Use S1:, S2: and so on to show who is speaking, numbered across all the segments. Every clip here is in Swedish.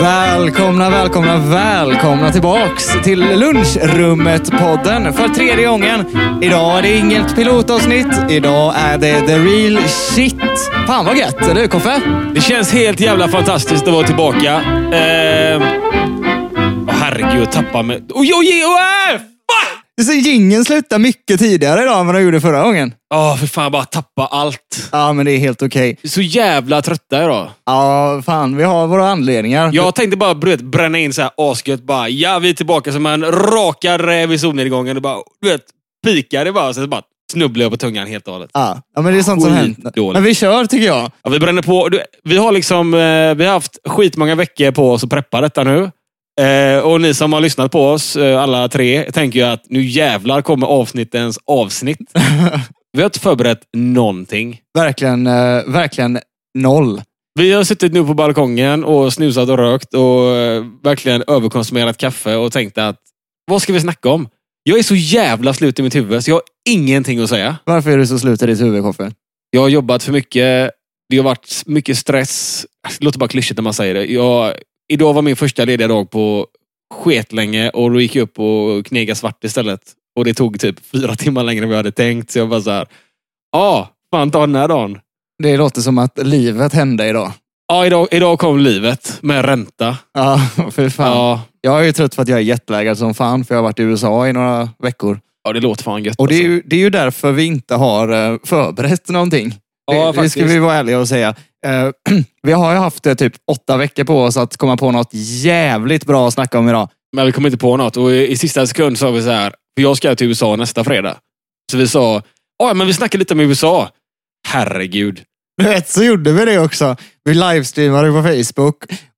S1: Välkomna, välkomna, välkomna tillbaks till Lunchrummet-podden för tredje gången. Idag är det inget pilotavsnitt. Idag är det the real shit. Fan vad gött, eller hur Koffe?
S2: Det känns helt jävla fantastiskt att vara tillbaka. Eh... åh, herregud, jag tappar mig. Oj, oj, oj, oj! äh, Fuck!
S1: Det ser jingeln slutar mycket tidigare idag än vad den gjorde förra gången.
S2: Ja, för fan. jag Bara tappa allt.
S1: Ja, men det är helt okej.
S2: Så jävla trötta idag.
S1: Ja, fan, vi har våra anledningar.
S2: Jag tänkte bara du vet, bränna in så här asgött. Bara, ja, vi är tillbaka som en rakad räv i solnedgången. Och bara, du vet, pikar det bara. Sen så bara snubblar jag på tungan helt och hållet.
S1: Ja, ja, men det är sånt som händer.
S2: Skitdåligt.
S1: Men vi kör tycker jag.
S2: Ja, vi bränner på. Du, vi har liksom eh, vi har haft skitmånga veckor på oss att preppa detta nu. Eh, och ni som har lyssnat på oss, eh, alla tre, tänker ju att nu jävlar kommer avsnittens avsnitt. vi har inte förberett någonting.
S1: Verkligen, eh, verkligen noll.
S2: Vi har suttit nu på balkongen och snusat och rökt och eh, verkligen överkonsumerat kaffe och tänkt att vad ska vi snacka om? Jag är så jävla slut i mitt huvud så jag har ingenting att säga.
S1: Varför är du så slut i ditt huvud, Koffe?
S2: Jag har jobbat för mycket. Det har varit mycket stress. Det låter bara klyschigt när man säger det. Jag, idag var min första lediga dag på skitlänge och då gick jag upp och knegade svart istället. Och det tog typ fyra timmar längre än vad jag hade tänkt. Så jag bara så här. Ja, ah, fan ta den här dagen.
S1: Det låter som att livet hände idag.
S2: Ja, idag, idag kom livet med ränta.
S1: Ja, för fan.
S2: Ja,
S1: Jag är ju trött för att jag är jetlaggad som fan, för jag har varit i USA i några veckor.
S2: ja, det låter fan gött. alltså.
S1: Och det är ju, det är ju därför vi inte har eh, förberett någonting.
S2: Ja,
S1: det, det ska
S2: faktiskt.
S1: vi vara ärliga och säga. Eh, vi har ju haft eh, typ åtta veckor på oss att komma på något jävligt bra att snacka om idag.
S2: Men vi kom inte på något och i, i sista sekund sa vi så här, för jag ska till USA nästa fredag. Så vi sa, ja men vi snackar lite om USA. Herregud.
S1: Du vet, så gjorde vi det också. Vi livestreamade på Facebook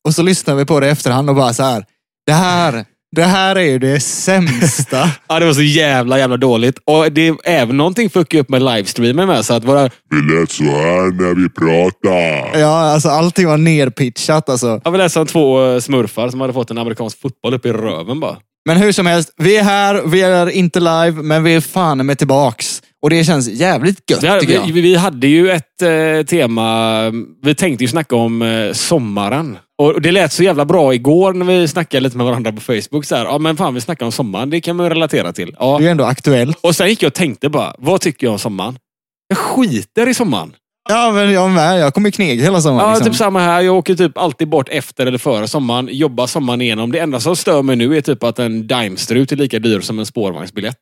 S1: och så lyssnade vi på det i efterhand och bara så här. Det här, det här är ju det sämsta.
S2: Ja, det var så jävla, jävla dåligt. Och det är även någonting fuckade upp med livestreamen med. Så att våra,
S3: Vi lät så här när vi pratade.
S1: ja, alltså allting var nerpitchat alltså.
S2: jag vill läsa om två eh, smurfar som hade fått en amerikansk fotboll upp i röven bara.
S1: Men hur som helst, vi är här, vi är inte live, men vi är fan med tillbaks. Och det känns jävligt gött
S2: Vi hade,
S1: tycker jag.
S2: vi, vi hade ju ett eh, tema. Vi tänkte ju snacka om eh, sommaren. Och det lät så jävla bra igår när vi snackade lite med varandra på Facebook. Så här, ja, men fan, vi snackar om sommaren. Det kan man ju relatera till. Ja.
S1: Det är ju ändå aktuellt.
S2: Och sen gick jag och tänkte bara, vad tycker jag om sommaren? Jag skiter i sommaren.
S1: Ja, men jag med. Jag kommer knega hela sommaren.
S2: Ja,
S1: liksom.
S2: typ samma här. Jag åker typ alltid bort efter eller före sommaren. Jobbar sommaren igenom. Det enda som stör mig nu är typ att en Daimstrut är lika dyr som en spårvagnsbiljett.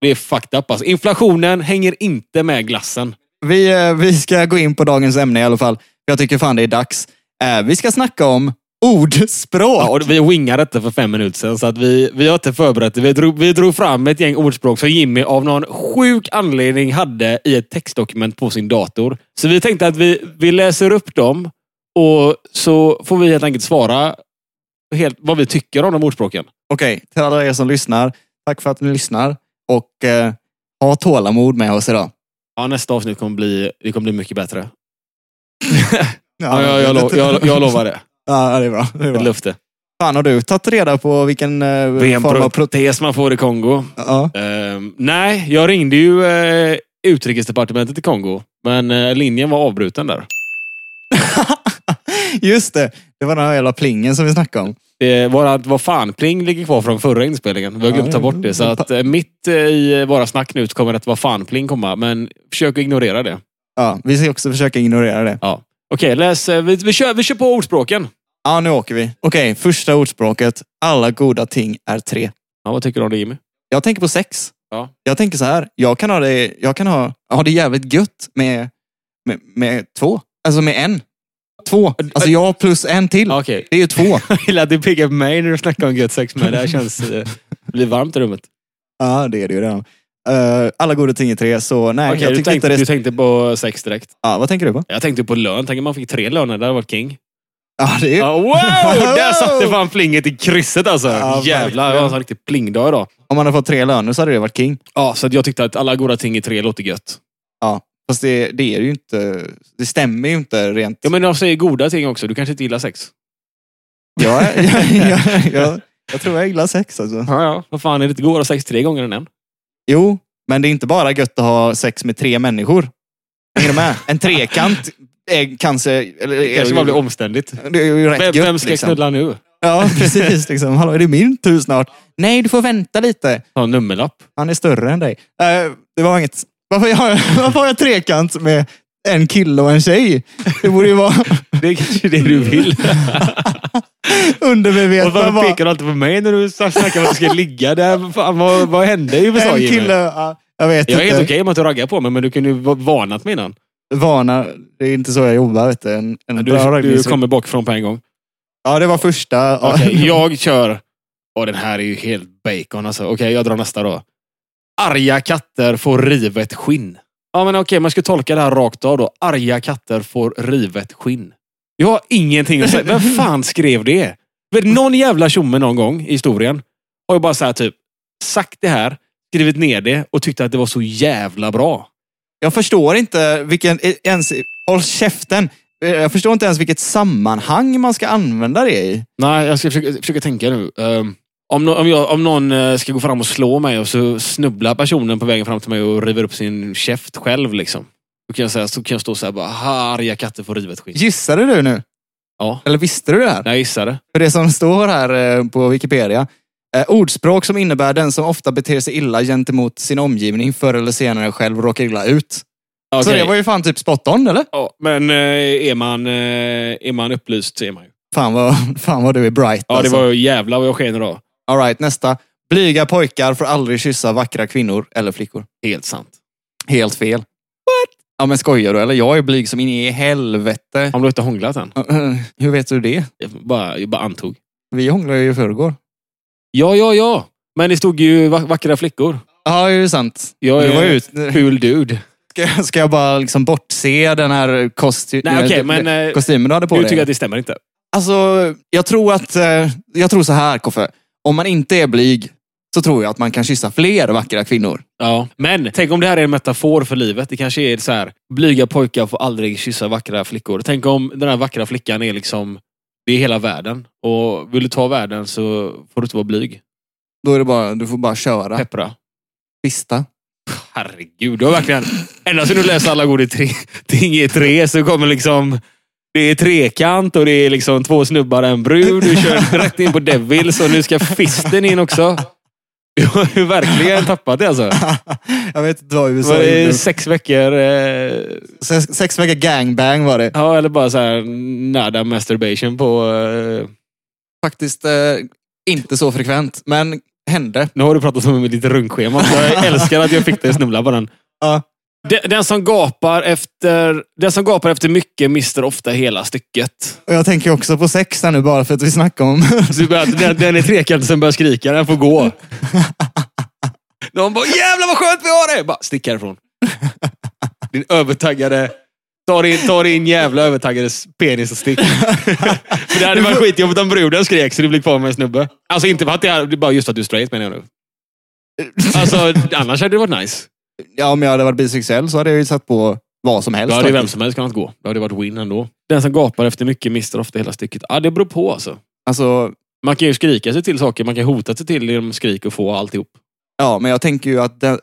S2: Det är fucked up alltså. Inflationen hänger inte med glassen.
S1: vi, eh, vi ska gå in på dagens ämne i alla fall. Jag tycker fan det är dags. Eh, vi ska snacka om ordspråk.
S2: Ja, och vi wingade detta för fem minuter sedan, så att vi, vi har inte förberett det. Vi drog, vi drog fram ett gäng ordspråk som Jimmy av någon sjuk anledning hade i ett textdokument på sin dator. Så vi tänkte att vi, vi läser upp dem och så får vi helt enkelt svara helt, vad vi tycker om de ordspråken.
S1: Okej, till alla er som lyssnar. Tack för att ni lyssnar. Och eh, ha tålamod med oss idag.
S2: Ja, nästa avsnitt kommer bli, det kommer bli mycket bättre.
S1: Ja,
S2: Ja, jag, jag, lo- jag, jag lovar det.
S1: Ja, det är bra. Det är
S2: Ett
S1: bra.
S2: löfte.
S1: Fan, har du tagit reda på vilken eh, form av... Pro-
S2: Benprotes man får i Kongo.
S1: ja.
S2: Ehm, nej, jag ringde ju eh, utrikesdepartementet i Kongo, men eh, linjen var avbruten där.
S1: Just det. Det var den här jävla plingen som vi snackade om.
S2: Det, vårat vad fan-pling ligger kvar från förra inspelningen. Vi har glömt ta bort det. Så att eh, mitt eh, i våra snack nu så kommer ett vad fan-pling komma. Men försök att ignorera det.
S1: Ja, vi ska också försöka ignorera det.
S2: Ja. Okej, läs. eh, Vi, vi, kör, vi kör på ordspråken.
S1: Ja, nu åker vi. Okej, första ordspråket. Alla goda ting är tre.
S2: Ja, vad tycker du om det Jimmy?
S1: Jag tänker på sex.
S2: Ja.
S1: Jag tänker så här. Jag kan ha det, jag kan ha, ha det jävligt gött med, med, med två. Alltså med en. Två. Alltså jag plus en till.
S2: Ja, Okej.
S1: Det är ju två.
S2: Jag gillar att du piggar upp mig när du snackar om gött sex med. Det här känns... eh, Det blir varmt i rummet.
S1: ja, det är det ju redan. Eh, alla goda ting är tre, så nej.
S2: Okej,
S1: jag
S2: du,
S1: tyckte
S2: tänkte,
S1: inte det...
S2: du tänkte på sex direkt.
S1: Ja, vad tänker du på?
S2: Jag tänkte på lön. Tänk om man fick tre löner. Det hade varit king.
S1: Ja, det är ju...
S2: Ja, wow! Där satte fan plinget i krysset alltså.
S1: Ja,
S2: Jävlar,
S1: verkligen.
S2: jag har en sån riktig plingdag idag.
S1: Om man hade fått tre löner så hade det varit king.
S2: Ja, så att jag tyckte att alla goda ting i tre låter gött.
S1: Ja, fast det, det är ju inte... Det stämmer ju inte rent...
S2: Ja, men jag säger goda ting också. Du kanske inte gillar sex?
S1: Jag, är- jag, jag, jag, jag tror jag gillar sex alltså.
S2: Ja, ja. Vad fan, är det inte goda sex tre gånger än en?
S1: Jo, men det är inte bara gött att ha sex med tre människor. Hänger du med? En trekant är cancer... Eller,
S2: Det kanske bara blir omständigt.
S1: det är ju rätt
S2: Vem,
S1: gött,
S2: vem ska
S1: liksom.
S2: knulla nu?
S1: Ja, precis. Liksom. Hallå, är det min tur snart? Nej, du får vänta lite.
S2: Ha en nummerlapp.
S1: Han är större än dig. Eh, det var inget... Varför har, jag, varför har jag trekant med en kille och en tjej? Det borde ju vara
S2: Det är kanske det du vill.
S1: undermedvetet.
S2: Och varför
S1: Bara,
S2: pekar du alltid på mig när du snackar om att du ska ligga där? Fan, vad, vad hände i USA,
S1: en
S2: Jimmy?
S1: kille... ja, Jag vet
S2: Jag är
S1: inte.
S2: helt okej med att du raggar på mig, men du kunde ju va- varnat mig innan.
S1: Vana. Det är inte så jag jobbar. Vet du. En, en bra
S2: Du, du
S1: raggningsring.
S2: kommer bakifrån på en gång.
S1: Ja, det var första. ja.
S2: Okej, jag kör... Och den här är ju helt bacon alltså. Okej, jag drar nästa då. Arga katter får rivet skinn. Ja, men okej, man ska tolka det här rakt av då. Arga katter får rivet skinn. Jag har ingenting att säga. Vem fan skrev det? Vet, någon jävla tjomme någon gång i historien har ju bara så här typ sagt det här, skrivit ner det och tyckte att det var så jävla bra.
S1: Jag förstår inte vilken... e- Ens, håll käften! Eh, Jag förstår inte ens vilket sammanhang man ska använda det i.
S2: Nej, jag ska försöka, försöka tänka nu. Ehm, om, nå- om, jag, om någon eh, ska gå fram och slå mig och så snubblar personen på vägen fram till mig och river upp sin käft själv. Liksom. Då kan jag, säga, så kan jag stå så här bara, "Ha, arga katter får rivet skinn.
S1: Gissade du nu?
S2: Ja,
S1: Eller visste du det här?
S2: jag gissade.
S1: För det som står här eh, på Wikipedia. eh, Ordspråk som innebär den som ofta beter sig illa gentemot sin omgivning förr eller senare själv råkar illa ut. Så det var ju fan typ spot on, eller?
S2: ja, men eh, är, man, eh, är man upplyst så är man ju.
S1: Fan vad, fan vad du är bright.
S2: Ja, det
S1: alltså.
S2: var ju jävla vad jag sken idag.
S1: All right, nästa. Blyga pojkar får aldrig kyssa vackra kvinnor eller flickor.
S2: Helt sant.
S1: Helt fel. What? Ja, men skojar du eller? Jag är blyg som in i helvete.
S2: Om du inte har hånglat än.
S1: Hur vet du det?
S2: Jag bara, jag bara antog.
S1: Vi hånglade ju i förrgår.
S2: Ja, ja, ja. Men det stod ju va- vackra flickor.
S1: Ja, det är ju sant.
S2: Jag
S1: Det var
S2: är
S1: ju-
S2: en ful dude.
S1: Ska, ska jag bara liksom bortse den här kosty-
S2: Nej, okej, men, eh,
S1: kostymen du hade på
S2: Du
S1: dig?
S2: tycker att det stämmer inte?
S1: Alltså, jag tror att... eh, Jag tror så här, Koffe. Om man inte är blyg så tror jag att man kan kyssa fler vackra kvinnor.
S2: Ja, men tänk om det här är en metafor för livet. Det kanske är så här, blyga pojkar får aldrig kyssa vackra flickor. Tänk om den här vackra flickan är liksom, det är hela världen. Och vill du ta världen så får du inte vara blyg.
S1: Då är det bara, du får bara köra.
S2: Peppra.
S1: Pista.
S2: Herregud, du har verkligen... Ända sedan du läste alla goda tre, ting i tre så kommer liksom... Det är trekant och det är liksom två snubbar och en brud. Du kör rätt in på Devils och nu ska fisten in också. Du har ju verkligen tappat det alltså.
S1: jag vet inte vad USA
S2: Var det
S1: gjorde.
S2: sex veckor eh,
S1: Sex, sex veckor gangbang var det.
S2: Ja, eller bara så här nada masturbation på... eh,
S1: Faktiskt eh, inte så frekvent, men hände.
S2: nu har du pratat om ditt runkschema. så Jag älskar att jag fick dig att snubbla på den.
S1: Ja.
S2: Den, den, som gapar efter, den som gapar efter mycket mister ofta hela stycket.
S1: Och jag tänker också på sex här nu bara för att vi snackar om...
S2: Så du börjar, den, den är trekantig som börjar skrika. Den får gå. De bara “Jävlar vad skönt vi har det!” Bara stick härifrån. Din övertaggade... Ta din, ta din jävla övertaggade s- penis och stick. För det hade varit skitjobbigt om bruden skrek så du blev kvar med en snubbe. Alltså inte för att det är, det är bara just för att du är straight menar jag nu. Alltså annars hade det varit nice.
S1: ja, om jag hade varit bisexuell så hade jag ju satt på vad som helst.
S2: Då hade ju vem
S1: faktiskt.
S2: som helst kunnat gå. Då hade det varit win ändå. Den som gapar efter mycket mister ofta hela stycket. Ja, det beror på alltså.
S1: Alltså,
S2: Man kan ju skrika sig till saker. Man kan hota sig till genom skrik och få alltihop.
S1: ja, men jag tänker ju att det,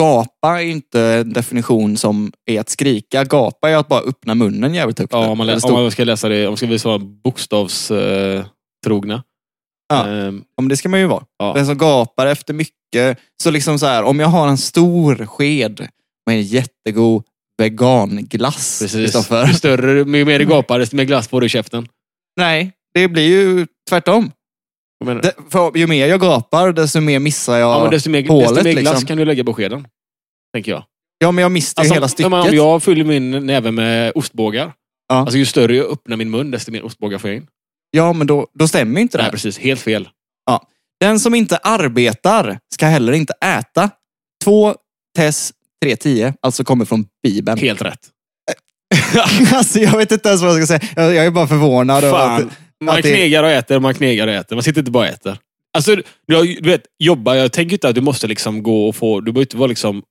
S1: gapa är ju inte en definition som är att skrika. Gapa är att bara öppna munnen jävligt högt.
S2: Ja, om man,
S1: Eller
S2: lä-
S1: stå-
S2: om man ska läsa det, om man ska visa vara bokstavstrogna.
S1: Ja.
S2: Ehm,
S1: Ja, men det ska man ju vara.
S2: Ja.
S1: Den som gapar efter mycket. Så liksom så här, om jag har en stor sked med en jättegod veganglass.
S2: precis.
S1: Kristoffer.
S2: Ju större, ju mer det gapar, desto mer glass får du i käften.
S1: Nej, det blir ju tvärtom.
S2: Jag menar-
S1: Det, för ju mer jag gapar, desto mer missar jag.
S2: ja,
S1: Ja,
S2: men desto mer, desto
S1: hålet,
S2: mer glass
S1: liksom.
S2: kan du lägga på skeden. Tänker jag.
S1: jag missar ju hela stycket.
S2: om- Alltså, Om jag fyller min näve med ostbågar.
S1: Ja.
S2: Alltså ju större jag öppnar min mun, desto mer ostbågar får jag in.
S1: Ja, men då, då stämmer ju inte det
S2: Nej,
S1: här.
S2: precis. Helt fel.
S1: Den som inte arbetar ska heller inte äta. 2 Tess 3.10, alltså kommer från Bibeln.
S2: Helt rätt.
S1: alltså, jag vet inte ens vad jag ska säga. Jag, jag är bara förvånad. över
S2: Fan.
S1: att-
S2: Man
S1: att det-
S2: knegar och äter, man knegar och äter. Man sitter inte bara och äter. Alltså, du, du vet, jobba, jag tänker inte att du måste liksom gå och få... Du behöver inte vara liksom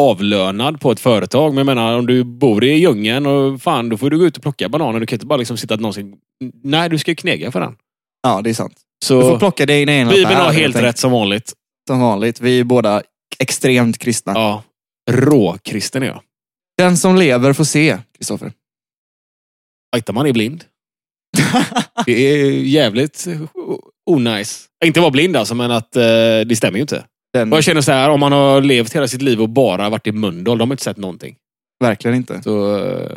S2: avlönad på ett företag. Men jag menar, om du bor i djungeln, och fan, då får du gå ut och plocka bananer. Du kan inte bara liksom sitta att någonsin... Nej, du ska ju knega för den.
S1: Ja, det är sant. Du får
S2: Så
S1: plocka dig i en
S2: Bibeln
S1: affär,
S2: har
S1: helt
S2: helt
S1: enkelt.
S2: rätt som vanligt.
S1: Som vanligt. Vi är båda extremt kristna.
S2: Ja. Råkristen är jag.
S1: Den som lever får se, Kristoffer.
S2: Fightar man är blind. det är jävligt onajs. Inte vara blind alltså, men att eh, det stämmer ju inte.
S1: Den,
S2: Och jag känner så här, om man har levt hela sitt liv och bara varit i Mölndal, de har inte sett någonting.
S1: Verkligen inte.
S2: Så eh,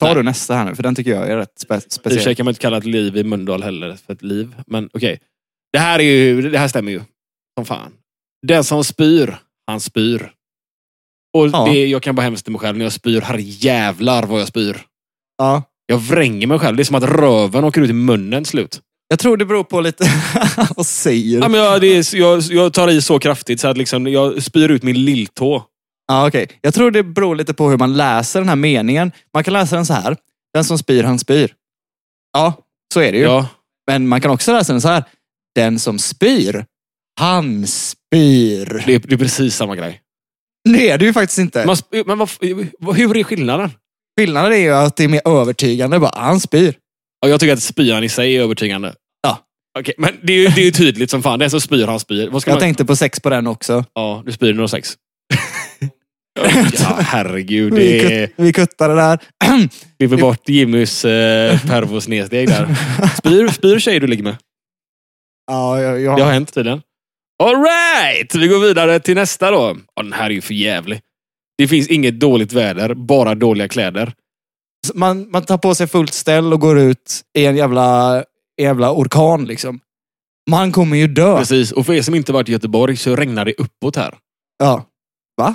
S1: Ta
S2: Nej.
S1: du nästa här nu, för den tycker jag är rätt spe,
S2: i och för
S1: speciell.
S2: sig kan man inte kalla ett liv i Mölndal heller för ett liv. Men okej. Det här är ju, det här stämmer ju. Som fan. Den som spyr, han spyr. Och
S1: Ja.
S2: det, jag kan bara hemskt till mig själv när jag spyr. Herrejävlar vad jag spyr.
S1: Ja.
S2: Jag vränger mig själv. Det är som att röven åker ut i munnen till slut.
S1: Jag tror det beror på lite vad säger
S2: Ja,
S1: du?
S2: men jag, det är, jag, jag tar i så kraftigt så att liksom, jag spyr ut min lilltå.
S1: Ja, okej. Jag tror det beror lite på hur man läser den här meningen. Man kan läsa den så här. Den som spyr, han spyr. Ja, så är det ju.
S2: Ja.
S1: Men man kan också läsa den så här. Den som spyr, han spyr.
S2: Det, är, det är precis samma grej.
S1: Det är det ju faktiskt inte.
S2: Man, sp- men vad, vad- hur är skillnaden?
S1: Skillnaden är ju att det är mer övertygande. Bara, han spyr.
S2: Ja, jag tycker att spyan i sig är övertygande.
S1: Ja.
S2: Okej, men det är, ju, det är ju tydligt som fan. Den som spyr, han spyr. Vad ska
S1: Jag
S2: man...
S1: tänkte på sex på den också.
S2: Ja, du spyr några sex. ja, herregud. Det
S1: Vi,
S2: är-
S1: kut, vi kuttade där.
S2: klipper bort Jimmys eh, pervosnedsteg där. Spyr, spyr tjejer du ligger med.
S1: ja, jag,
S2: Det har
S1: jag,
S2: hänt tydligen. Alright! Vi går vidare till nästa då. Ja, den här är ju för jävlig. Det finns inget dåligt väder, bara dåliga kläder.
S1: man, man tar på sig fullt ställ och går ut i en jävla, en jävla orkan liksom. Man kommer ju dö.
S2: Precis. Och för er som inte varit i Göteborg så regnar det uppåt här.
S1: Ja.
S2: Har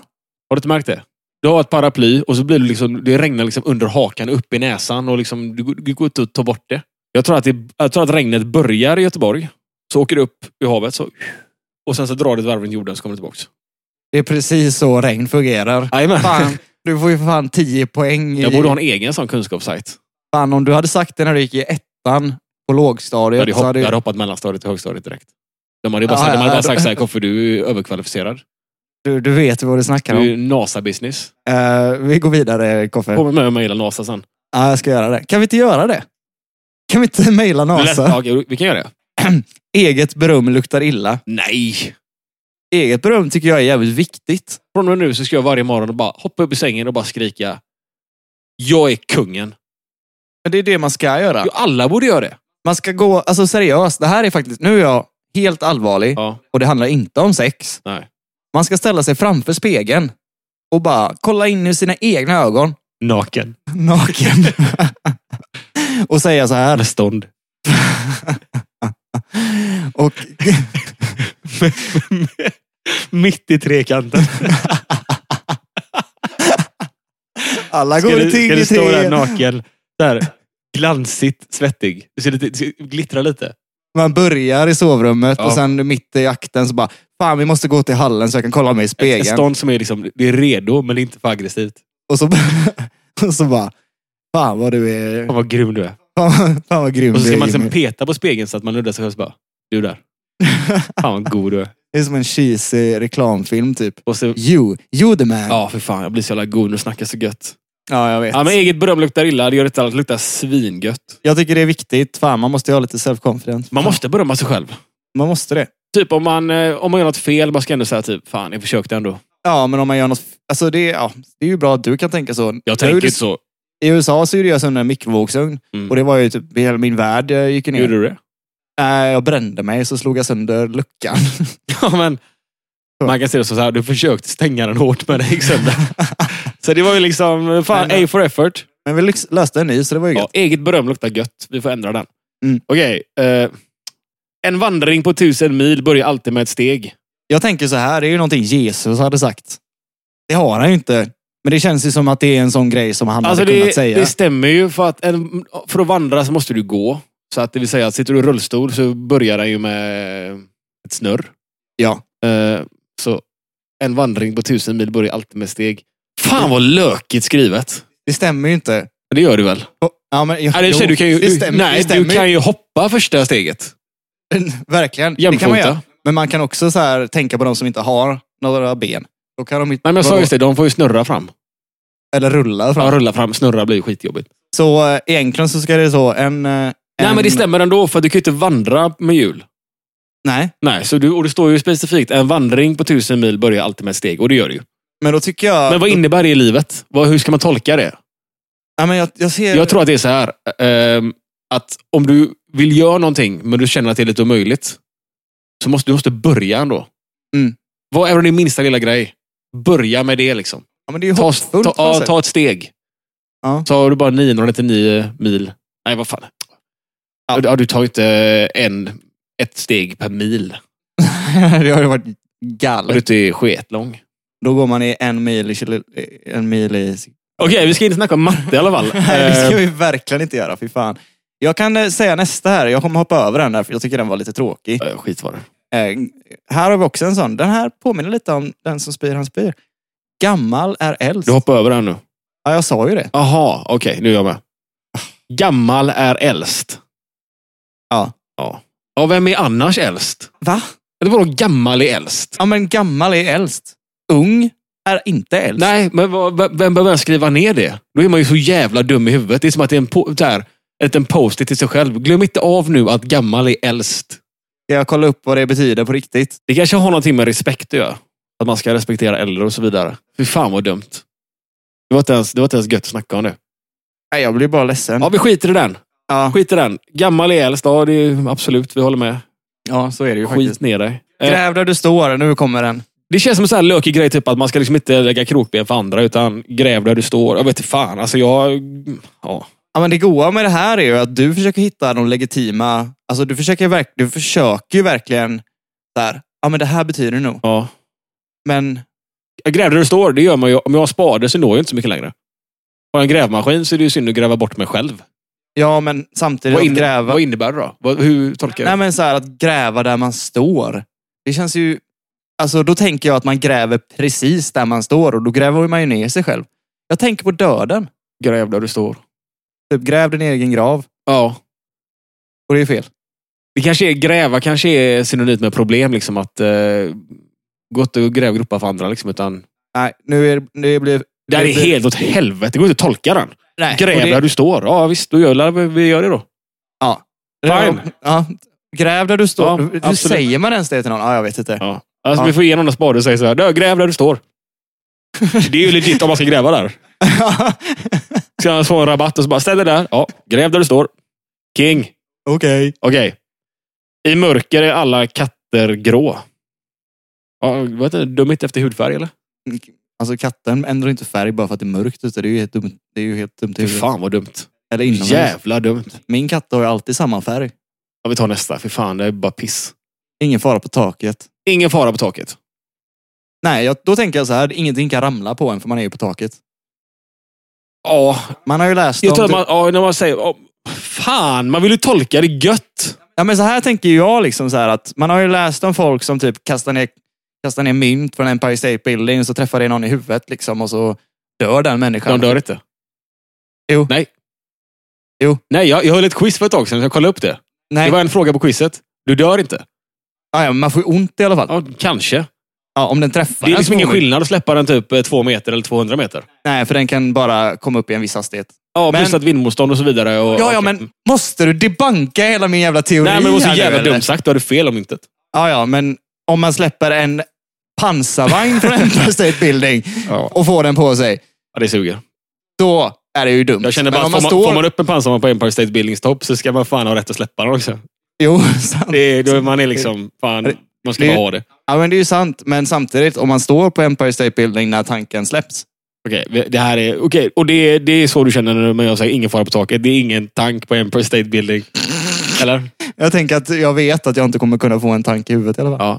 S2: du inte märkt det? Du har ett paraply och så blir det liksom, det regnar liksom under hakan, upp i näsan och liksom, du, du går inte att ta bort det. Jag tror att, det, jag tror att regnet börjar i Göteborg, så åker det upp i havet så, och sen så drar det ett varv runt jorden så kommer det tillbaka.
S1: Det är precis så regn fungerar.
S2: Jajamän.
S1: Fan, du får ju för fan 10 poäng. I,
S2: Jag borde ha en egen sån kunskapssajt.
S1: fan, om du hade sagt det när du gick i ettan på
S2: Jag
S1: lågstadiet
S2: hade, ju
S1: så
S2: hopp,
S1: hade
S2: jag
S1: ju-
S2: hade hoppat mellanstadiet till högstadiet direkt. De hade ju bara,
S1: Ja,
S2: sagt, de
S1: ja,
S2: hade bara
S1: ja,
S2: sagt
S1: då-
S2: så här, Koffe du är överkvalificerad.
S1: du, du vet vad du snackar
S2: Du
S1: om.
S2: är ju NASA-business.
S1: Eh, vi går vidare, Koffe.
S2: Kommer med och mejla NASA sen.
S1: Ja, jag ska göra det. Kan vi inte göra det? Kan vi inte mejla
S2: Lätt-
S1: NASA?
S2: ja, okej, vi kan göra det.
S1: Eget beröm luktar illa.
S2: Nej!
S1: Eget beröm tycker jag är jävligt viktigt.
S2: Från och med nu så ska jag varje morgon bara hoppa upp i sängen och bara skrika. Jag är kungen.
S1: Men det är det man ska göra.
S2: Jo, alla borde göra det.
S1: Man ska gå, alltså seriöst, det här är faktiskt, nu är jag helt allvarlig
S2: Ja,
S1: och det handlar inte om sex.
S2: nej.
S1: Man ska ställa sig framför spegeln och bara kolla in i sina egna ögon,
S2: Naken.
S1: naken. och säga så här.
S2: Med stånd.
S1: Och
S2: Mitt i trekanten.
S1: alla
S2: Ska
S1: går
S2: du,
S1: i ting
S2: ska
S1: i
S2: du stå där
S1: tre.
S2: naken? Där. Glansigt svettig. Du ser lite, ser- glittra lite.
S1: Man börjar i sovrummet
S2: Ja.
S1: och sen mitt i akten så bara, fan vi måste gå till hallen så jag kan kolla mig i
S2: En
S1: spegeln.
S2: stånd som är liksom, det är redo men det är inte för aggressivt.
S1: Och så, och så bara, fan vad du är,
S2: Fan vad grym du är.
S1: fan, fan vad grym
S2: Och så
S1: du
S2: ska
S1: är
S2: man liksom
S1: Jimmy.
S2: peta på spegeln så att man nuddar sig själv. så bara, Du där. Fan vad god du är.
S1: Det är som en cheesy reklamfilm typ.
S2: Och så,
S1: You, you the man.
S2: ja för fan, jag blir så jävla god när du snackar så gött.
S1: Ja, jag vet.
S2: Ja, men eget beröm luktar illa. Det gör inte allt. Det luktar svingött.
S1: Jag tycker det är viktigt. Fan, man måste ju ha lite self-confidence.
S2: Man måste berömma sig själv.
S1: Man måste det.
S2: Typ om man, eh, om man gör något fel, man ska ändå säga typ, fan jag försökte ändå.
S1: Ja, men om man gör något... alltså det, är- ja, det är ju bra att du kan tänka så.
S2: Jag tänker
S1: gjorde-
S2: inte så.
S1: I USA så gjorde jag sån där mikrovågsugn.
S2: Mm.
S1: Och det var ju typ, hela min värld eh, gick ju ner.
S2: Gjorde du det?
S1: Nej, jag brände mig så slog jag sönder luckan.
S2: Ja, men man kan se det så här, du försökte stänga den hårt men det gick sönder. Så det var ju liksom, fan,
S1: Men-
S2: A for effort.
S1: men vi lyx- löste en ny, så det var ju
S2: Ja,
S1: gött.
S2: eget beröm luktar gött. Vi får ändra den.
S1: Mm.
S2: Okej. eh, en vandring på tusen mil börjar alltid med ett steg.
S1: Jag tänker så här, det är ju någonting Jesus hade sagt. Det har han ju inte. Men det känns ju som att det är en sån grej som han
S2: Alltså
S1: hade
S2: det,
S1: kunnat säga.
S2: det stämmer ju. För att, en, för att vandra så måste du gå. Så att det vill säga, att sitter du i rullstol så börjar den ju med ett snurr.
S1: Ja.
S2: Eh, så en vandring på tusen mil börjar alltid med steg. Fan vad lökigt skrivet.
S1: det stämmer ju inte.
S2: Men Det gör du väl?
S1: Ja, men,
S2: Nej, det,
S1: jo,
S2: tjej, du kan ju,
S1: det stämmer,
S2: nej,
S1: det stämmer
S2: du kan ju hoppa första steget.
S1: Verkligen. Det kan man göra.
S2: Jämfota.
S1: Men man kan också så här, tänka på de som inte har några ben. Då kan de inte,
S2: Nej, men jag sa just det. De får ju snurra fram.
S1: Eller rulla fram.
S2: Ja, rulla fram. Snurra blir ju skitjobbigt.
S1: Så eh, egentligen så ska det så en... eh,
S2: Nej,
S1: en-
S2: men det stämmer ändå. För du kan ju inte vandra med hjul.
S1: Nej,
S2: Nej, så du, och det står ju specifikt en vandring på tusen mil börjar alltid med ett steg. Och det gör det ju.
S1: men då tycker jag...
S2: Men vad innebär det i livet? Vad, hur ska man tolka det?
S1: Ja, men jag, jag ser...
S2: Jag tror att det är så här. ehm, att om du vill göra någonting, men du känner att det är lite omöjligt. Så måste du måste börja ändå.
S1: Mm.
S2: Vad är det minsta lilla grej? Börja med det liksom.
S1: ja, men det är ju
S2: Ta,
S1: hoppfullt.
S2: ta,
S1: på något
S2: ja,
S1: sätt.
S2: ta ett steg.
S1: Ja.
S2: Så har du bara 999 mil. Nej, vad fan. Ja.
S1: Ja.
S2: du tar ju inte en, ett steg per mil.
S1: det har ju varit
S2: Om du
S1: galet.
S2: inte är sketlång.
S1: Då går man i en mil i... kilo- En mil i...
S2: Okej, vi ska inte snacka om matte i alla fall.
S1: Nej, det ska
S2: Eh,
S1: vi verkligen inte göra. Fy fan. Jag kan eh, säga nästa här. Jag kommer hoppa över den där, för jag tycker den var lite tråkig.
S2: eh, Skit var det.
S1: Eh, här har vi också en sån. Den här påminner lite om den som spyr, han spyr. Gammal är äldst.
S2: Du hoppar över den nu.
S1: Ja, jag sa ju det.
S2: Aha, okej. nu är jag med. Gammal är äldst.
S1: Ja.
S2: Ja, ja vem är annars äldst?
S1: Va?
S2: Eller vadå gammal är äldst?
S1: Ja, men gammal är äldst. Ung är inte äldst.
S2: Nej, men vad- v- vem behöver ens skriva ner det? Då är man ju så jävla dum i huvudet. Det är som att det är en, po- så här, en liten post-it till sig själv. Glöm inte av nu att gammal är äldst.
S1: Ska jag kolla upp vad det betyder på riktigt?
S2: Det kanske har någonting med respekt att göra. Att man ska respektera äldre och så vidare. Fy fan vad dumt. Det var inte ens, det var inte ens gött att snacka om det.
S1: Nej, jag blir bara ledsen.
S2: Ja, vi skiter i den.
S1: Ja,
S2: Skiter i den. Gammal är äldst. Ja, det är, absolut. Vi håller med.
S1: ja så är det ju
S2: Skit
S1: faktiskt.
S2: ner dig. Eh,
S1: Gräv där du står. Nu kommer den.
S2: Det känns som en sån här lökig grej, typ att man ska liksom inte lägga krokben för andra, utan gräv där du står. Jag vet inte fan, alltså jag... Ja.
S1: Ja, men det goa med det här är ju att du försöker hitta de legitima... Alltså du försöker, verk, du försöker ju verkligen... Där. Ja, men det här betyder det nog.
S2: ja.
S1: Men
S2: Jag gräv där du står, det gör man ju. Om jag har spade så når jag inte så mycket längre. Har jag en grävmaskin så är det ju synd att gräva bort mig själv.
S1: ja, men samtidigt
S2: Vad,
S1: att
S2: inne,
S1: gräva...
S2: vad innebär det då? Vad, hur tolkar jag
S1: Nej,
S2: det?
S1: men så här att gräva där man står. Det känns ju... Alltså då tänker jag att man gräver precis där man står och då gräver man ju ner sig själv. Jag tänker på döden.
S2: Gräv där du står.
S1: Typ gräv din egen grav.
S2: Ja.
S1: Och det är fel.
S2: Det kanske är gräva, kanske är synonymt med problem. Liksom att eh, gå inte och gräv gropar för andra. Liksom, utan,
S1: Nej, nu är det, det blir...
S2: det här är
S1: det blir-
S2: helt åt helvete. Det går inte att tolka den.
S1: Nej, och
S2: Gräv
S1: det-
S2: där du står. Ja visst, då gör vi- vi gör det då.
S1: Ja.
S2: Fine.
S1: Ja. Gräv där du
S2: Ja,
S1: står. Hur
S2: absolut.
S1: säger man ens det till någon? Ja, jag vet inte.
S2: Ja. Alltså,
S1: Ja.
S2: Vi får igenom några spade och säger så här, "Dö, gräv där du står. Det är ju legit om man ska gräva där. Ska han få en rabatt och så bara, ställ dig där. Ja, gräv där du står. King.
S1: Okej.
S2: Okej. I mörker är alla katter grå. Ja, vad heter det? Dummigt efter hudfärg eller?
S1: Alltså katten ändrar inte färg bara för att det är mörkt ute. Det är ju helt dumt. Det är ju helt dumt i
S2: Fy
S1: huvudet.
S2: fan vad dumt.
S1: Eller inomhus.
S2: Typ. Jävla dumt.
S1: Min katt har ju alltid samma färg.
S2: Ja, vi tar nästa. Fy fan, det är bara piss.
S1: Ingen fara på taket.
S2: Ingen fara på taket.
S1: Nej, jag, då tänker jag så här. Ingenting kan ramla på en för man är ju på taket.
S2: Ja,
S1: Man har ju läst
S2: jag
S1: om... typ-
S2: tror att man, ja, när man säger, ja, fan, man vill ju tolka det gött.
S1: Ja, men så här tänker jag liksom så här att man har ju läst om folk som typ kastar ner, kastar ner mynt från Empire State Building och så träffar det någon i huvudet liksom och så dör den människan.
S2: De dör inte.
S1: Jo.
S2: Nej.
S1: Jo.
S2: Nej, jag, jag höll ett quiz för ett tag sedan. Jag kollade upp det.
S1: Nej,
S2: Det var en fråga på quizet. Du dör inte.
S1: ja, ja, man får ju ont i alla fall.
S2: Ja, kanske.
S1: Ja, om den träffar
S2: det är
S1: en
S2: liksom ingen
S1: småmynt.
S2: skillnad att släppa den typ eh, två meter eller 200 meter.
S1: Nej, för den kan bara komma upp i en viss hastighet.
S2: Ja,
S1: Men-
S2: plus att vindmotstånd och så vidare. Och,
S1: Ja, ja,
S2: okej.
S1: men måste du debanka hela min jävla teori
S2: Nej, men det var så
S1: här nu,
S2: jävla
S1: eller?
S2: dumt sagt. Då har du fel om inte.
S1: Ja, ja, men om man släpper en pansarvagn från Empire State Building
S2: Ja.
S1: och får den på sig,
S2: ja, det suger.
S1: då är det ju dumt.
S2: Jag känner bara
S1: men
S2: att
S1: om
S2: får
S1: man
S2: man,
S1: står...
S2: får man upp en pansarvagn på Empire State Buildings topp så ska man fan ha rätt att släppa den också.
S1: Jo, sant.
S2: Det är, då är man är liksom, fan, man ska
S1: det-
S2: bara ha det.
S1: Ja, men det är ju sant. Men samtidigt, om man står på Empire State Building när tanken släpps.
S2: Okej, vi- det här är... Okej, och det, det är så du känner nu, men jag säger ingen fara på taket. Det är ingen tank på Empire State Building. Eller?
S1: Jag tänker att jag vet att jag inte kommer kunna få en tanke i huvudet i alla fall.
S2: Ja.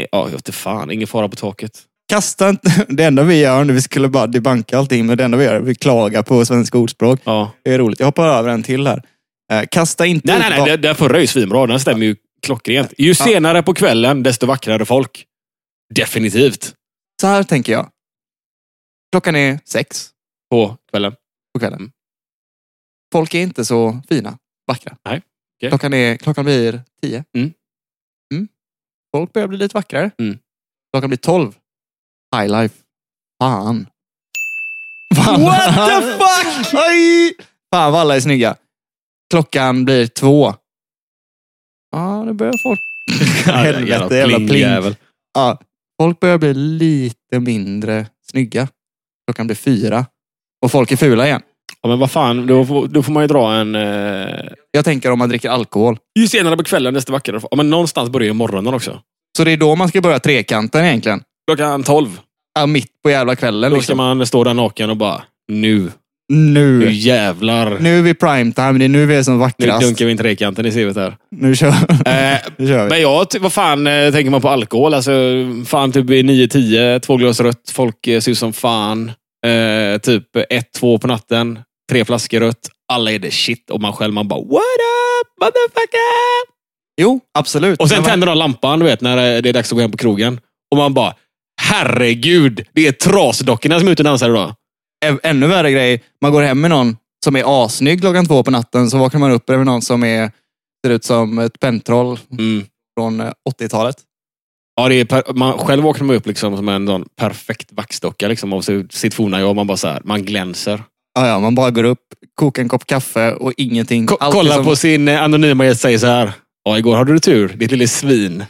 S2: Eh, Ja, jag vete fan. Ingen fara på taket.
S1: Kasta inte... Det enda vi gör nu, vi skulle bara debanka allting, men det enda vi gör är att vi klagar på svenska ordspråk.
S2: Ja.
S1: Det är roligt. Jag hoppar över en till här. Eh, Kasta inte
S2: Nej,
S1: ut
S2: nej, nej.
S1: vad-
S2: Den, den förra är ju svinbra. Den stämmer ju klockrent. Ju senare på kvällen, desto vackrare folk. Definitivt.
S1: Så här tänker jag. Klockan är sex
S2: På kvällen.
S1: på kvällen.
S2: Mm.
S1: Folk är inte så fina, vackra.
S2: Nej, okej.
S1: Klockan, är, klockan blir tio.
S2: Mm.
S1: Mm. Folk börjar bli lite vackrare.
S2: Mm.
S1: Klockan blir tolv. High life. Fan.
S2: What the fuck?
S1: Aj! Fan vad alla är snygga. Klockan blir två. Ja, nu börjar folk... Helvete, jävla pling.
S2: plingjävel.
S1: Ja, folk börjar bli lite mindre snygga. Klockan blir fyra. Och folk är fula igen.
S2: Ja, men vad fan, då får, då får man ju dra en... Eh...
S1: Jag tänker om man dricker alkohol.
S2: Ju senare på kvällen desto vackrare. Ja, men någonstans börjar ju morgonen också.
S1: Så det är då man ska börja trekanten egentligen.
S2: Klockan 12.
S1: Ja, mitt på jävla kvällen
S2: Då ska
S1: liksom.
S2: man stå där naken och bara, nu, nu
S1: Nu.
S2: jävlar. Nu,
S1: Mm. Nu är vi prime time. Det är nu vi är som vackrast.
S2: dunkar vi in trekanten i cvt här.
S1: Nu kör,
S2: Eh,
S1: nu kör vi.
S2: Men jag, ty- vad fan eh, tänker man på alkohol? Alltså, fan typ vid 9-10, två glas rött, folk eh, ser ut som fan. Eh, typ 1-2 på natten, tre flaskor rött. Alla är det shit och man själv man bara what up motherfucker!
S1: Jo, absolut.
S2: Och sen
S1: Men vad-
S2: tänder de lampan, du vet, när eh, det är dags att gå hem på krogen. Och man bara herregud, det är trasdockorna som är ute och dansar idag.
S1: Ä- Ännu värre grej. Man går hem med någon som är assnygg klockan två på natten. Så vaknar man upp med någon som är, ser ut som ett pentroll
S2: Mm.
S1: från eh, 80-talet.
S2: Ja, det är per- man, själv vaknar man upp liksom som en sån perfekt vaxdocka liksom, av sitt- sitt forna jag. Man bara så här, man glänser.
S1: Ja, ja, man bara går upp, kokar en kopp kaffe och ingenting.
S2: Ko-
S1: Allt är
S2: kolla
S1: som-
S2: på sin eh, anonyma gäst säger så här. Ja, igår hade du tur. Ditt lille svin.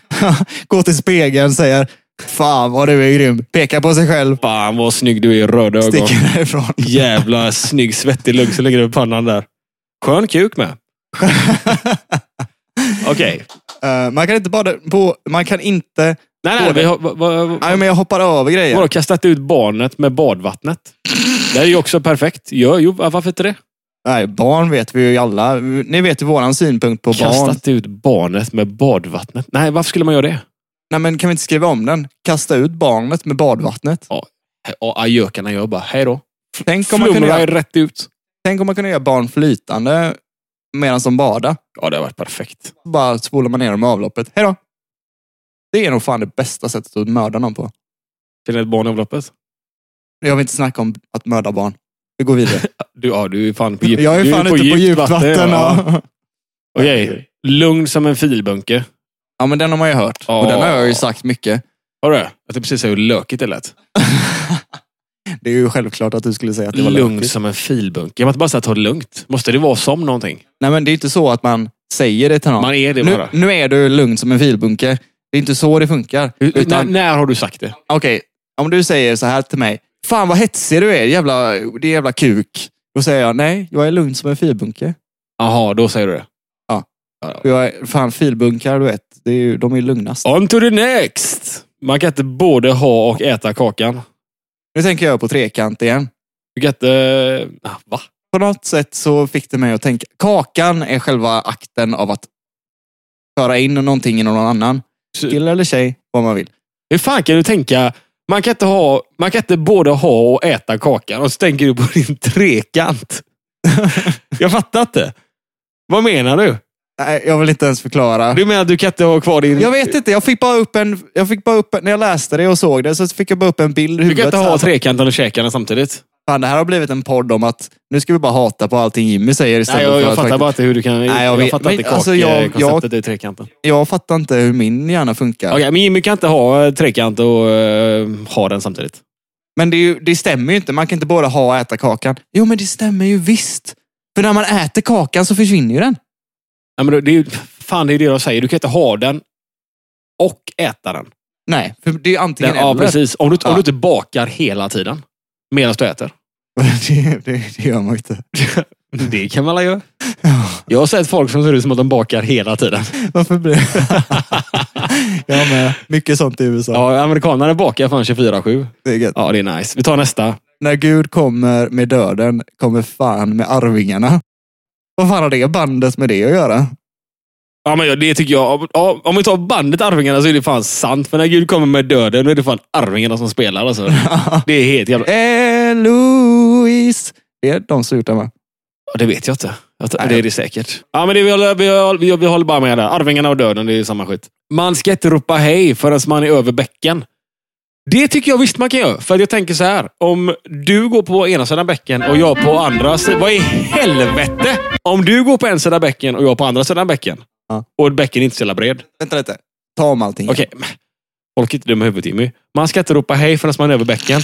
S1: Går till spegeln, säger Fan vad du är grym. Pekar på sig själv,
S2: Fan vad snygg du är i röda ögon.
S1: sticker därifrån.
S2: Jävla snygg svettig lugg som ligger över pannan där. Skön kuk med. Okej.
S1: Eh, man kan inte bada på... Man kan inte...
S2: Nej, nej. Vi har, va, va, va,
S1: Nej, men jag hoppar över grejer.
S2: vadå, kastat ut barnet med badvattnet. Det är ju också perfekt. Jo, jo varför inte det?
S1: Nej, barn vet vi ju alla. Ni vet ju våran synpunkt på barn.
S2: Kastat ut barnet med badvattnet. Nej, varför skulle man göra det?
S1: Nej, men kan vi inte skriva om den? Kasta ut barnet med badvattnet.
S2: Och ajökarna gör bara hej då.
S1: Tänk om, man kunde
S2: Flumrar
S1: göra,
S2: rätt ut.
S1: tänk om man kunde göra barn flytande medan de badar.
S2: Ja, det har varit perfekt.
S1: Bara spolar man ner dem i avloppet. Hej då! Det är nog fan det bästa sättet att mörda någon på.
S2: Känner ett barn i avloppet?
S1: Jag vill inte snacka om att mörda barn. Vi går vidare.
S2: Du, ja, du är fan på djupt
S1: Jag är fan ute på djupt vatten.
S2: ja.
S1: Ja.
S2: Okej. Lugn som en filbunke.
S1: ja, men den har man ju hört. Och den har jag ju sagt mycket.
S2: Har du? Jag tänkte precis säga hur lökigt det lät.
S1: Det är ju självklart att du skulle säga att det var
S2: Lugn
S1: lökigt.
S2: som en filbunke. Jag måste bara säga ta det lugnt. Måste det vara som någonting?
S1: Nej, men det är inte så att man säger det till någon.
S2: Man är det
S1: nu,
S2: bara.
S1: nu är du lugn som en filbunke. Det är inte så det funkar.
S2: Hur- hur-
S1: Utan,
S2: när, när har du sagt det?
S1: okej, om du säger så här till mig. Fan vad hetsig du är, jävla, det är jävla kuk. Då säger jag, nej, jag är lugn som en filbunke.
S2: Jaha, då säger du det.
S1: För Jag är, fan, filbunkar, du vet, det är ju, de är ju lugnast.
S2: On to the next! Man kan inte både ha och äta kakan.
S1: Nu tänker jag på trekant igen.
S2: Du kan inte... Ah, va?
S1: På något sätt så fick det mig att tänka, kakan är själva akten av att föra in någonting i någon annan. Kille eller tjej, vad man vill.
S2: Hur fan kan du tänka... Man kan, inte ha, man kan inte både ha och äta kakan och så tänker du på din trekant. Jag fattar inte. Vad menar du?
S1: Nej, jag vill inte ens förklara.
S2: Du menar att du kan inte ha kvar din...
S1: Jag vet inte, jag fick bara upp en... Jag fick bara upp en när jag läste det och såg det så fick jag bara upp en bild i
S2: Du kan
S1: huvudet. alltså.
S2: inte ha
S1: Så här,
S2: trekanten och käkarna samtidigt.
S1: Fan, det här har blivit en podd om att nu ska vi bara hata på allting Jimmy säger istället
S2: Nej,
S1: Alltså,
S2: jag,
S1: för
S2: jag
S1: att
S2: fattar
S1: faktiskt-
S2: bara inte hur du kan...
S1: jag
S2: jag,
S1: vet-
S2: fattar
S1: men
S2: inte
S1: alltså, jag-
S2: kakkonceptet jag... i trekanten. Okej,
S1: Jag fattar inte hur min hjärna funkar.
S2: men Jimmy kan inte ha eh, trekant och eh, ha den samtidigt.
S1: Men det, är ju, det stämmer ju inte. Man kan inte bara ha och äta kakan. Jo, men det stämmer ju visst. För när man äter kakan så försvinner ju den.
S2: Nej, men det är ju, fan, det är ju det jag säger. Du kan inte ha den och äta den.
S1: Nej, för det är ju antingen
S2: den ja,
S1: eller.
S2: precis. Om du,
S1: Ja.
S2: om du inte bakar hela tiden. Medan du äter.
S1: det, det, det gör man ju inte.
S2: Det kan man alla göra. Jag har sett folk som ser ut som att de bakar hela tiden.
S1: Varför blir Jag med. Mycket sånt i USA.
S2: Ja, amerikanare bakar fan 24-7.
S1: Det är gött.
S2: Ja, det är nice. Vi tar nästa. Ja, men ja, det tycker jag. Ja, om vi tar bandet Arvingarna så är det fan sant. För när Gud kommer med döden, då är det fan Arvingarna som spelar. Alltså. Det är helt jävla...
S1: Eloise! Det är de som gjort den va?
S2: Ja, det vet jag inte. Jag,
S1: Nej.
S2: det är det säkert. Ja, men det, vi, håller, vi, håller, vi, vi håller bara med där. Arvingarna och döden, det är ju samma skit. Man ska inte ropa hej förrän man är över bäcken. Det tycker jag visst man kan göra. För att jag tänker så här. Om du går på ena sidan bäcken och jag på andra sidan. Vad i helvete? Om du går på en sida bäcken och jag på andra sidan bäcken.
S1: Ja.
S2: Och bäcken är inte så jävla bred.
S1: Vänta lite. Ta om allting.
S2: Okej. men Folk är inte dumma i huvudet Jimmy. Man ska inte ropa hej förrän man är över bäcken.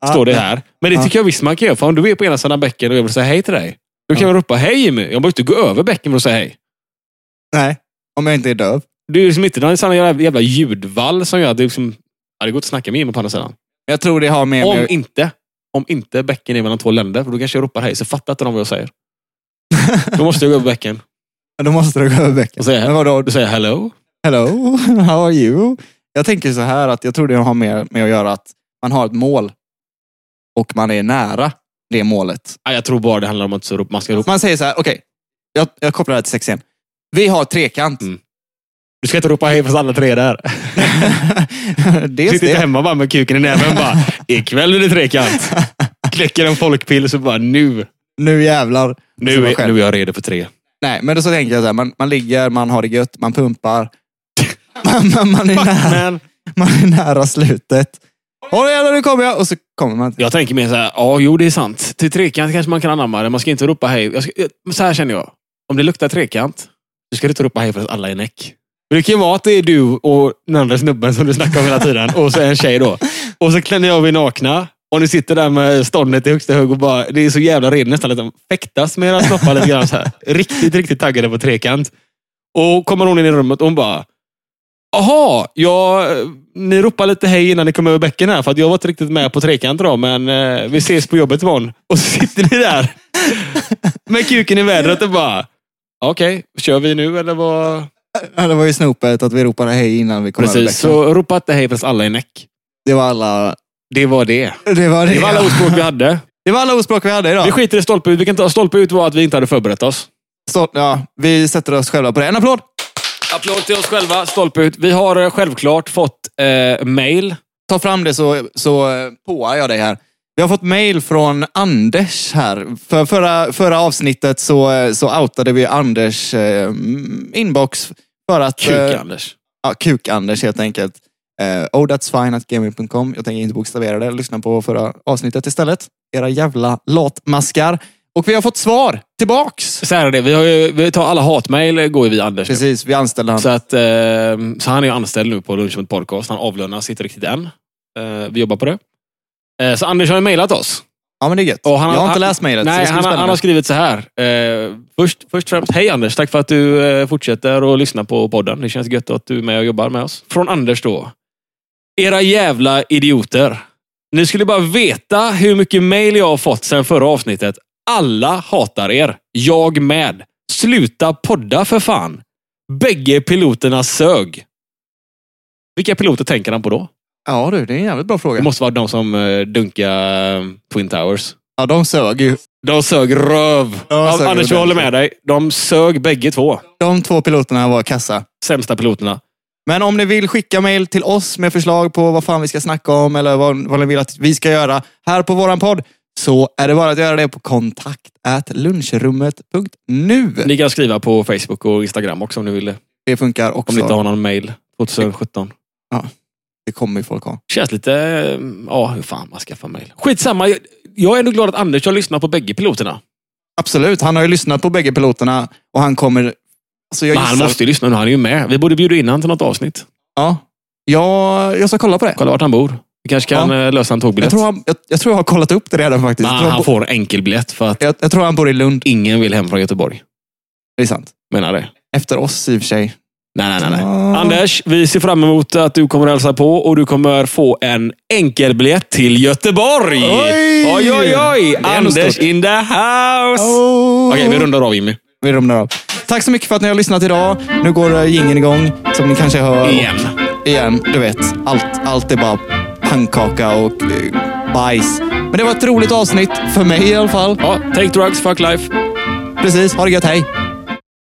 S1: Ja,
S2: Står det här. Men det
S1: Ja.
S2: tycker jag visst man kan göra. För om du är på ena sidan bäcken och jag vill säga hej till dig. Då kan
S1: Ja.
S2: jag ropa hej Jimmy. Jag behöver inte gå över bäcken för att säga hej.
S1: Nej, om jag inte är döv.
S2: Det är liksom inte någon sån jävla, jävla ljudvall som gör att det liksom... Ja, det går inte att snacka med Jimmy på andra sidan.
S1: Jag tror det har med
S2: Om
S1: mig...
S2: inte. om inte bäcken är mellan två länder. För då kanske jag ropar hej, så fattar inte de vad jag säger. Då måste jag gå över bäcken
S1: Då måste du gå över bäcken.
S2: och säga,
S1: Men vadå?
S2: då säger jag hello.
S1: Hello, how are you? Jag tänker så här att jag tror det har mer med att göra att man har ett mål och man är nära det målet.
S2: Ja, jag tror bara det handlar om att så rop- man ska ropa.
S1: Man säger så här, okej. jag, jag kopplar det här till sex igen. Vi har trekant.
S2: Mm. Du ska inte ropa hej fast alla tre är där.
S1: Dels
S2: Sitter inte
S1: det.
S2: hemma bara med kuken i näven bara, ikväll är det trekant. Knäcker en folkpil så bara, nu.
S1: Nu jävlar.
S2: Nu
S1: Så man
S2: är,
S1: själv.
S2: nu är jag redo för tre.
S1: Nej, men då så tänker jag så här, man, man ligger, man har det gött, man pumpar. Man, man, man, är, nära,
S2: Men
S1: man är nära slutet. Åh jävlar, nu kommer jag! Och så kommer man.
S2: jag tänker mer så här, ja jo det är sant. Till trekant kanske man kan anamma det. Man ska inte ropa hej. Jag ska, jag- men så här känner jag. Om det luktar trekant, så ska du inte ropa hej förrän alla är näck. Men Det kan ju vara att det är du och den andra snubben som du snackar om hela tiden. Och så en tjej då. Och så klär ni av er nakna. Och ni sitter där med ståndet i högsta hög och bara, det är så jävla redo nästan liksom, fäktas med era snoppar lite grann. Så här. Riktigt, riktigt taggade på trekant. Och kommer hon in i rummet och hon bara, Jaha, ja, ni ropade lite hej innan ni kom över bäcken här för att jag var inte riktigt med på trekant då, men eh, vi ses på jobbet imorgon. Och så sitter ni där med kuken i vädret och bara, okej, kör vi nu eller vad?
S1: Ja, det var ju snopet att vi ropade hej innan vi kom över
S2: Precis,
S1: bäcken.
S2: så ropa inte hej förrän alla är näck.
S1: Det var alla...
S2: Det var det.
S1: Det var, det.
S2: Det var alla ordspråk vi hade.
S1: det var alla ordspråk vi hade
S2: Vi
S1: idag.
S2: skiter i stolpe ut. Vi kan ta, stolpe ut var att vi inte hade förberett oss.
S1: Så, ja, vi sätter oss själva på det. En applåd!
S2: Applåd till oss själva, stolpe ut. Vi har eh, självklart fått eh, mail.
S1: ta fram det så, så eh, påar jag dig här. Vi har fått mail från Anders här. För förra, förra avsnittet så, eh, så outade vi Anders eh, mm, inbox för att...
S2: Kuk,
S1: eh,
S2: Anders.
S1: Ja, kuk-Anders helt enkelt. Eh, oh that's fine at gaming.com. Jag tänker inte bokstavera det. Lyssna på förra avsnittet istället. Era jävla latmaskar. Och vi har fått svar tillbaks.
S2: Så här är det, vi, har ju, vi tar alla hatmail eh, går ju via Anders.
S1: Precis, vi anställde han.
S2: Så, att, eh, så han är ju anställd nu på Lunch med Podcast. Han avlönas inte riktigt än. Eh, vi jobbar på det. Eh, så Anders har ju mejlat oss.
S1: Ja men det är gött.
S2: Och han har-
S1: jag har inte
S2: han-
S1: läst mejlet. så det
S2: Nej,
S1: ska
S2: han,
S1: bli
S2: har- han
S1: spännande.
S2: har skrivit så här. Eh, först, först och främst, hej Anders. Tack för att du eh, fortsätter att lyssna på podden. Det känns gött att du är med och jobbar med oss. Från Anders då. Era jävla idioter. Ni skulle bara veta hur mycket mail jag har fått sedan förra avsnittet. Alla hatar er. Jag med. Sluta podda för fan. Bägge piloterna sög. Vilka piloter tänker han på då?
S1: Ja du, det är en jävligt bra
S2: Det
S1: fråga.
S2: måste vara de som eh, dunkade eh, Twin Towers.
S1: Ja, de sög ju.
S2: De sög röv.
S1: Ja,
S2: Ja,
S1: sög
S2: Anders, jag
S1: röv.
S2: håller med dig. De sög bägge två.
S1: De två piloterna var kassa.
S2: Sämsta piloterna.
S1: Men om ni vill skicka mejl till oss med förslag på vad fan vi ska snacka om eller vad, vad ni vill att vi ska göra här på våran podd så är det bara att göra det på kontakt lunchrummet.nu.
S2: Ni kan skriva på Facebook och Instagram också om ni vill det.
S1: Det funkar
S2: Om ni
S1: också.
S2: inte har någon mail. 2017.
S1: Det kommer ju folk ha.
S2: Känns lite... eh, Ja, hur fan man skaffar mail. Skitsamma. Jag- Jag är ändå glad att Anders har lyssnat på bägge piloterna.
S1: Absolut, han har ju lyssnat på bägge piloterna och han kommer... Alltså jag
S2: Men han
S1: gissar-
S2: måste ju lyssna nu. Han är ju med. Vi borde bjuda in honom till något avsnitt.
S1: Ja. Jag, jag ska kolla på det.
S2: Kolla vart han bor. Vi kanske kan eh, lösa en
S1: Jag
S2: tågbiljett.
S1: tror, han, jag, jag tror jag har kollat upp det redan faktiskt.
S2: Nej,
S1: jag, tror han
S2: han
S1: bo,
S2: får en enkelbiljett för att
S1: jag, jag tror han bor i Lund.
S2: ingen vill hem från Göteborg.
S1: Det är sant.
S2: Menar det.
S1: Efter oss i och för sig.
S2: Nej, nej, nej. nej.
S1: Ah.
S2: Anders, vi ser fram emot att du kommer att hälsa på och du kommer få en enkelbiljett till Göteborg.
S1: Oj!
S2: oj, oj! oj.
S1: Det är ändå
S2: Anders
S1: stort.
S2: in the house!
S1: Oh.
S2: Okej, vi rundar av Jimmy.
S1: Vi rundar av. Tack så mycket för att ni har lyssnat idag. Nu går gingen igång, som ni kanske hör.
S2: Igen.
S1: Igen, du vet. Allt, allt är bara pannkaka och eh, bajs. Men det var ett roligt avsnitt, för mig i alla fall.
S2: Ja, take drugs, fuck life.
S1: Precis, ha det gött, hej!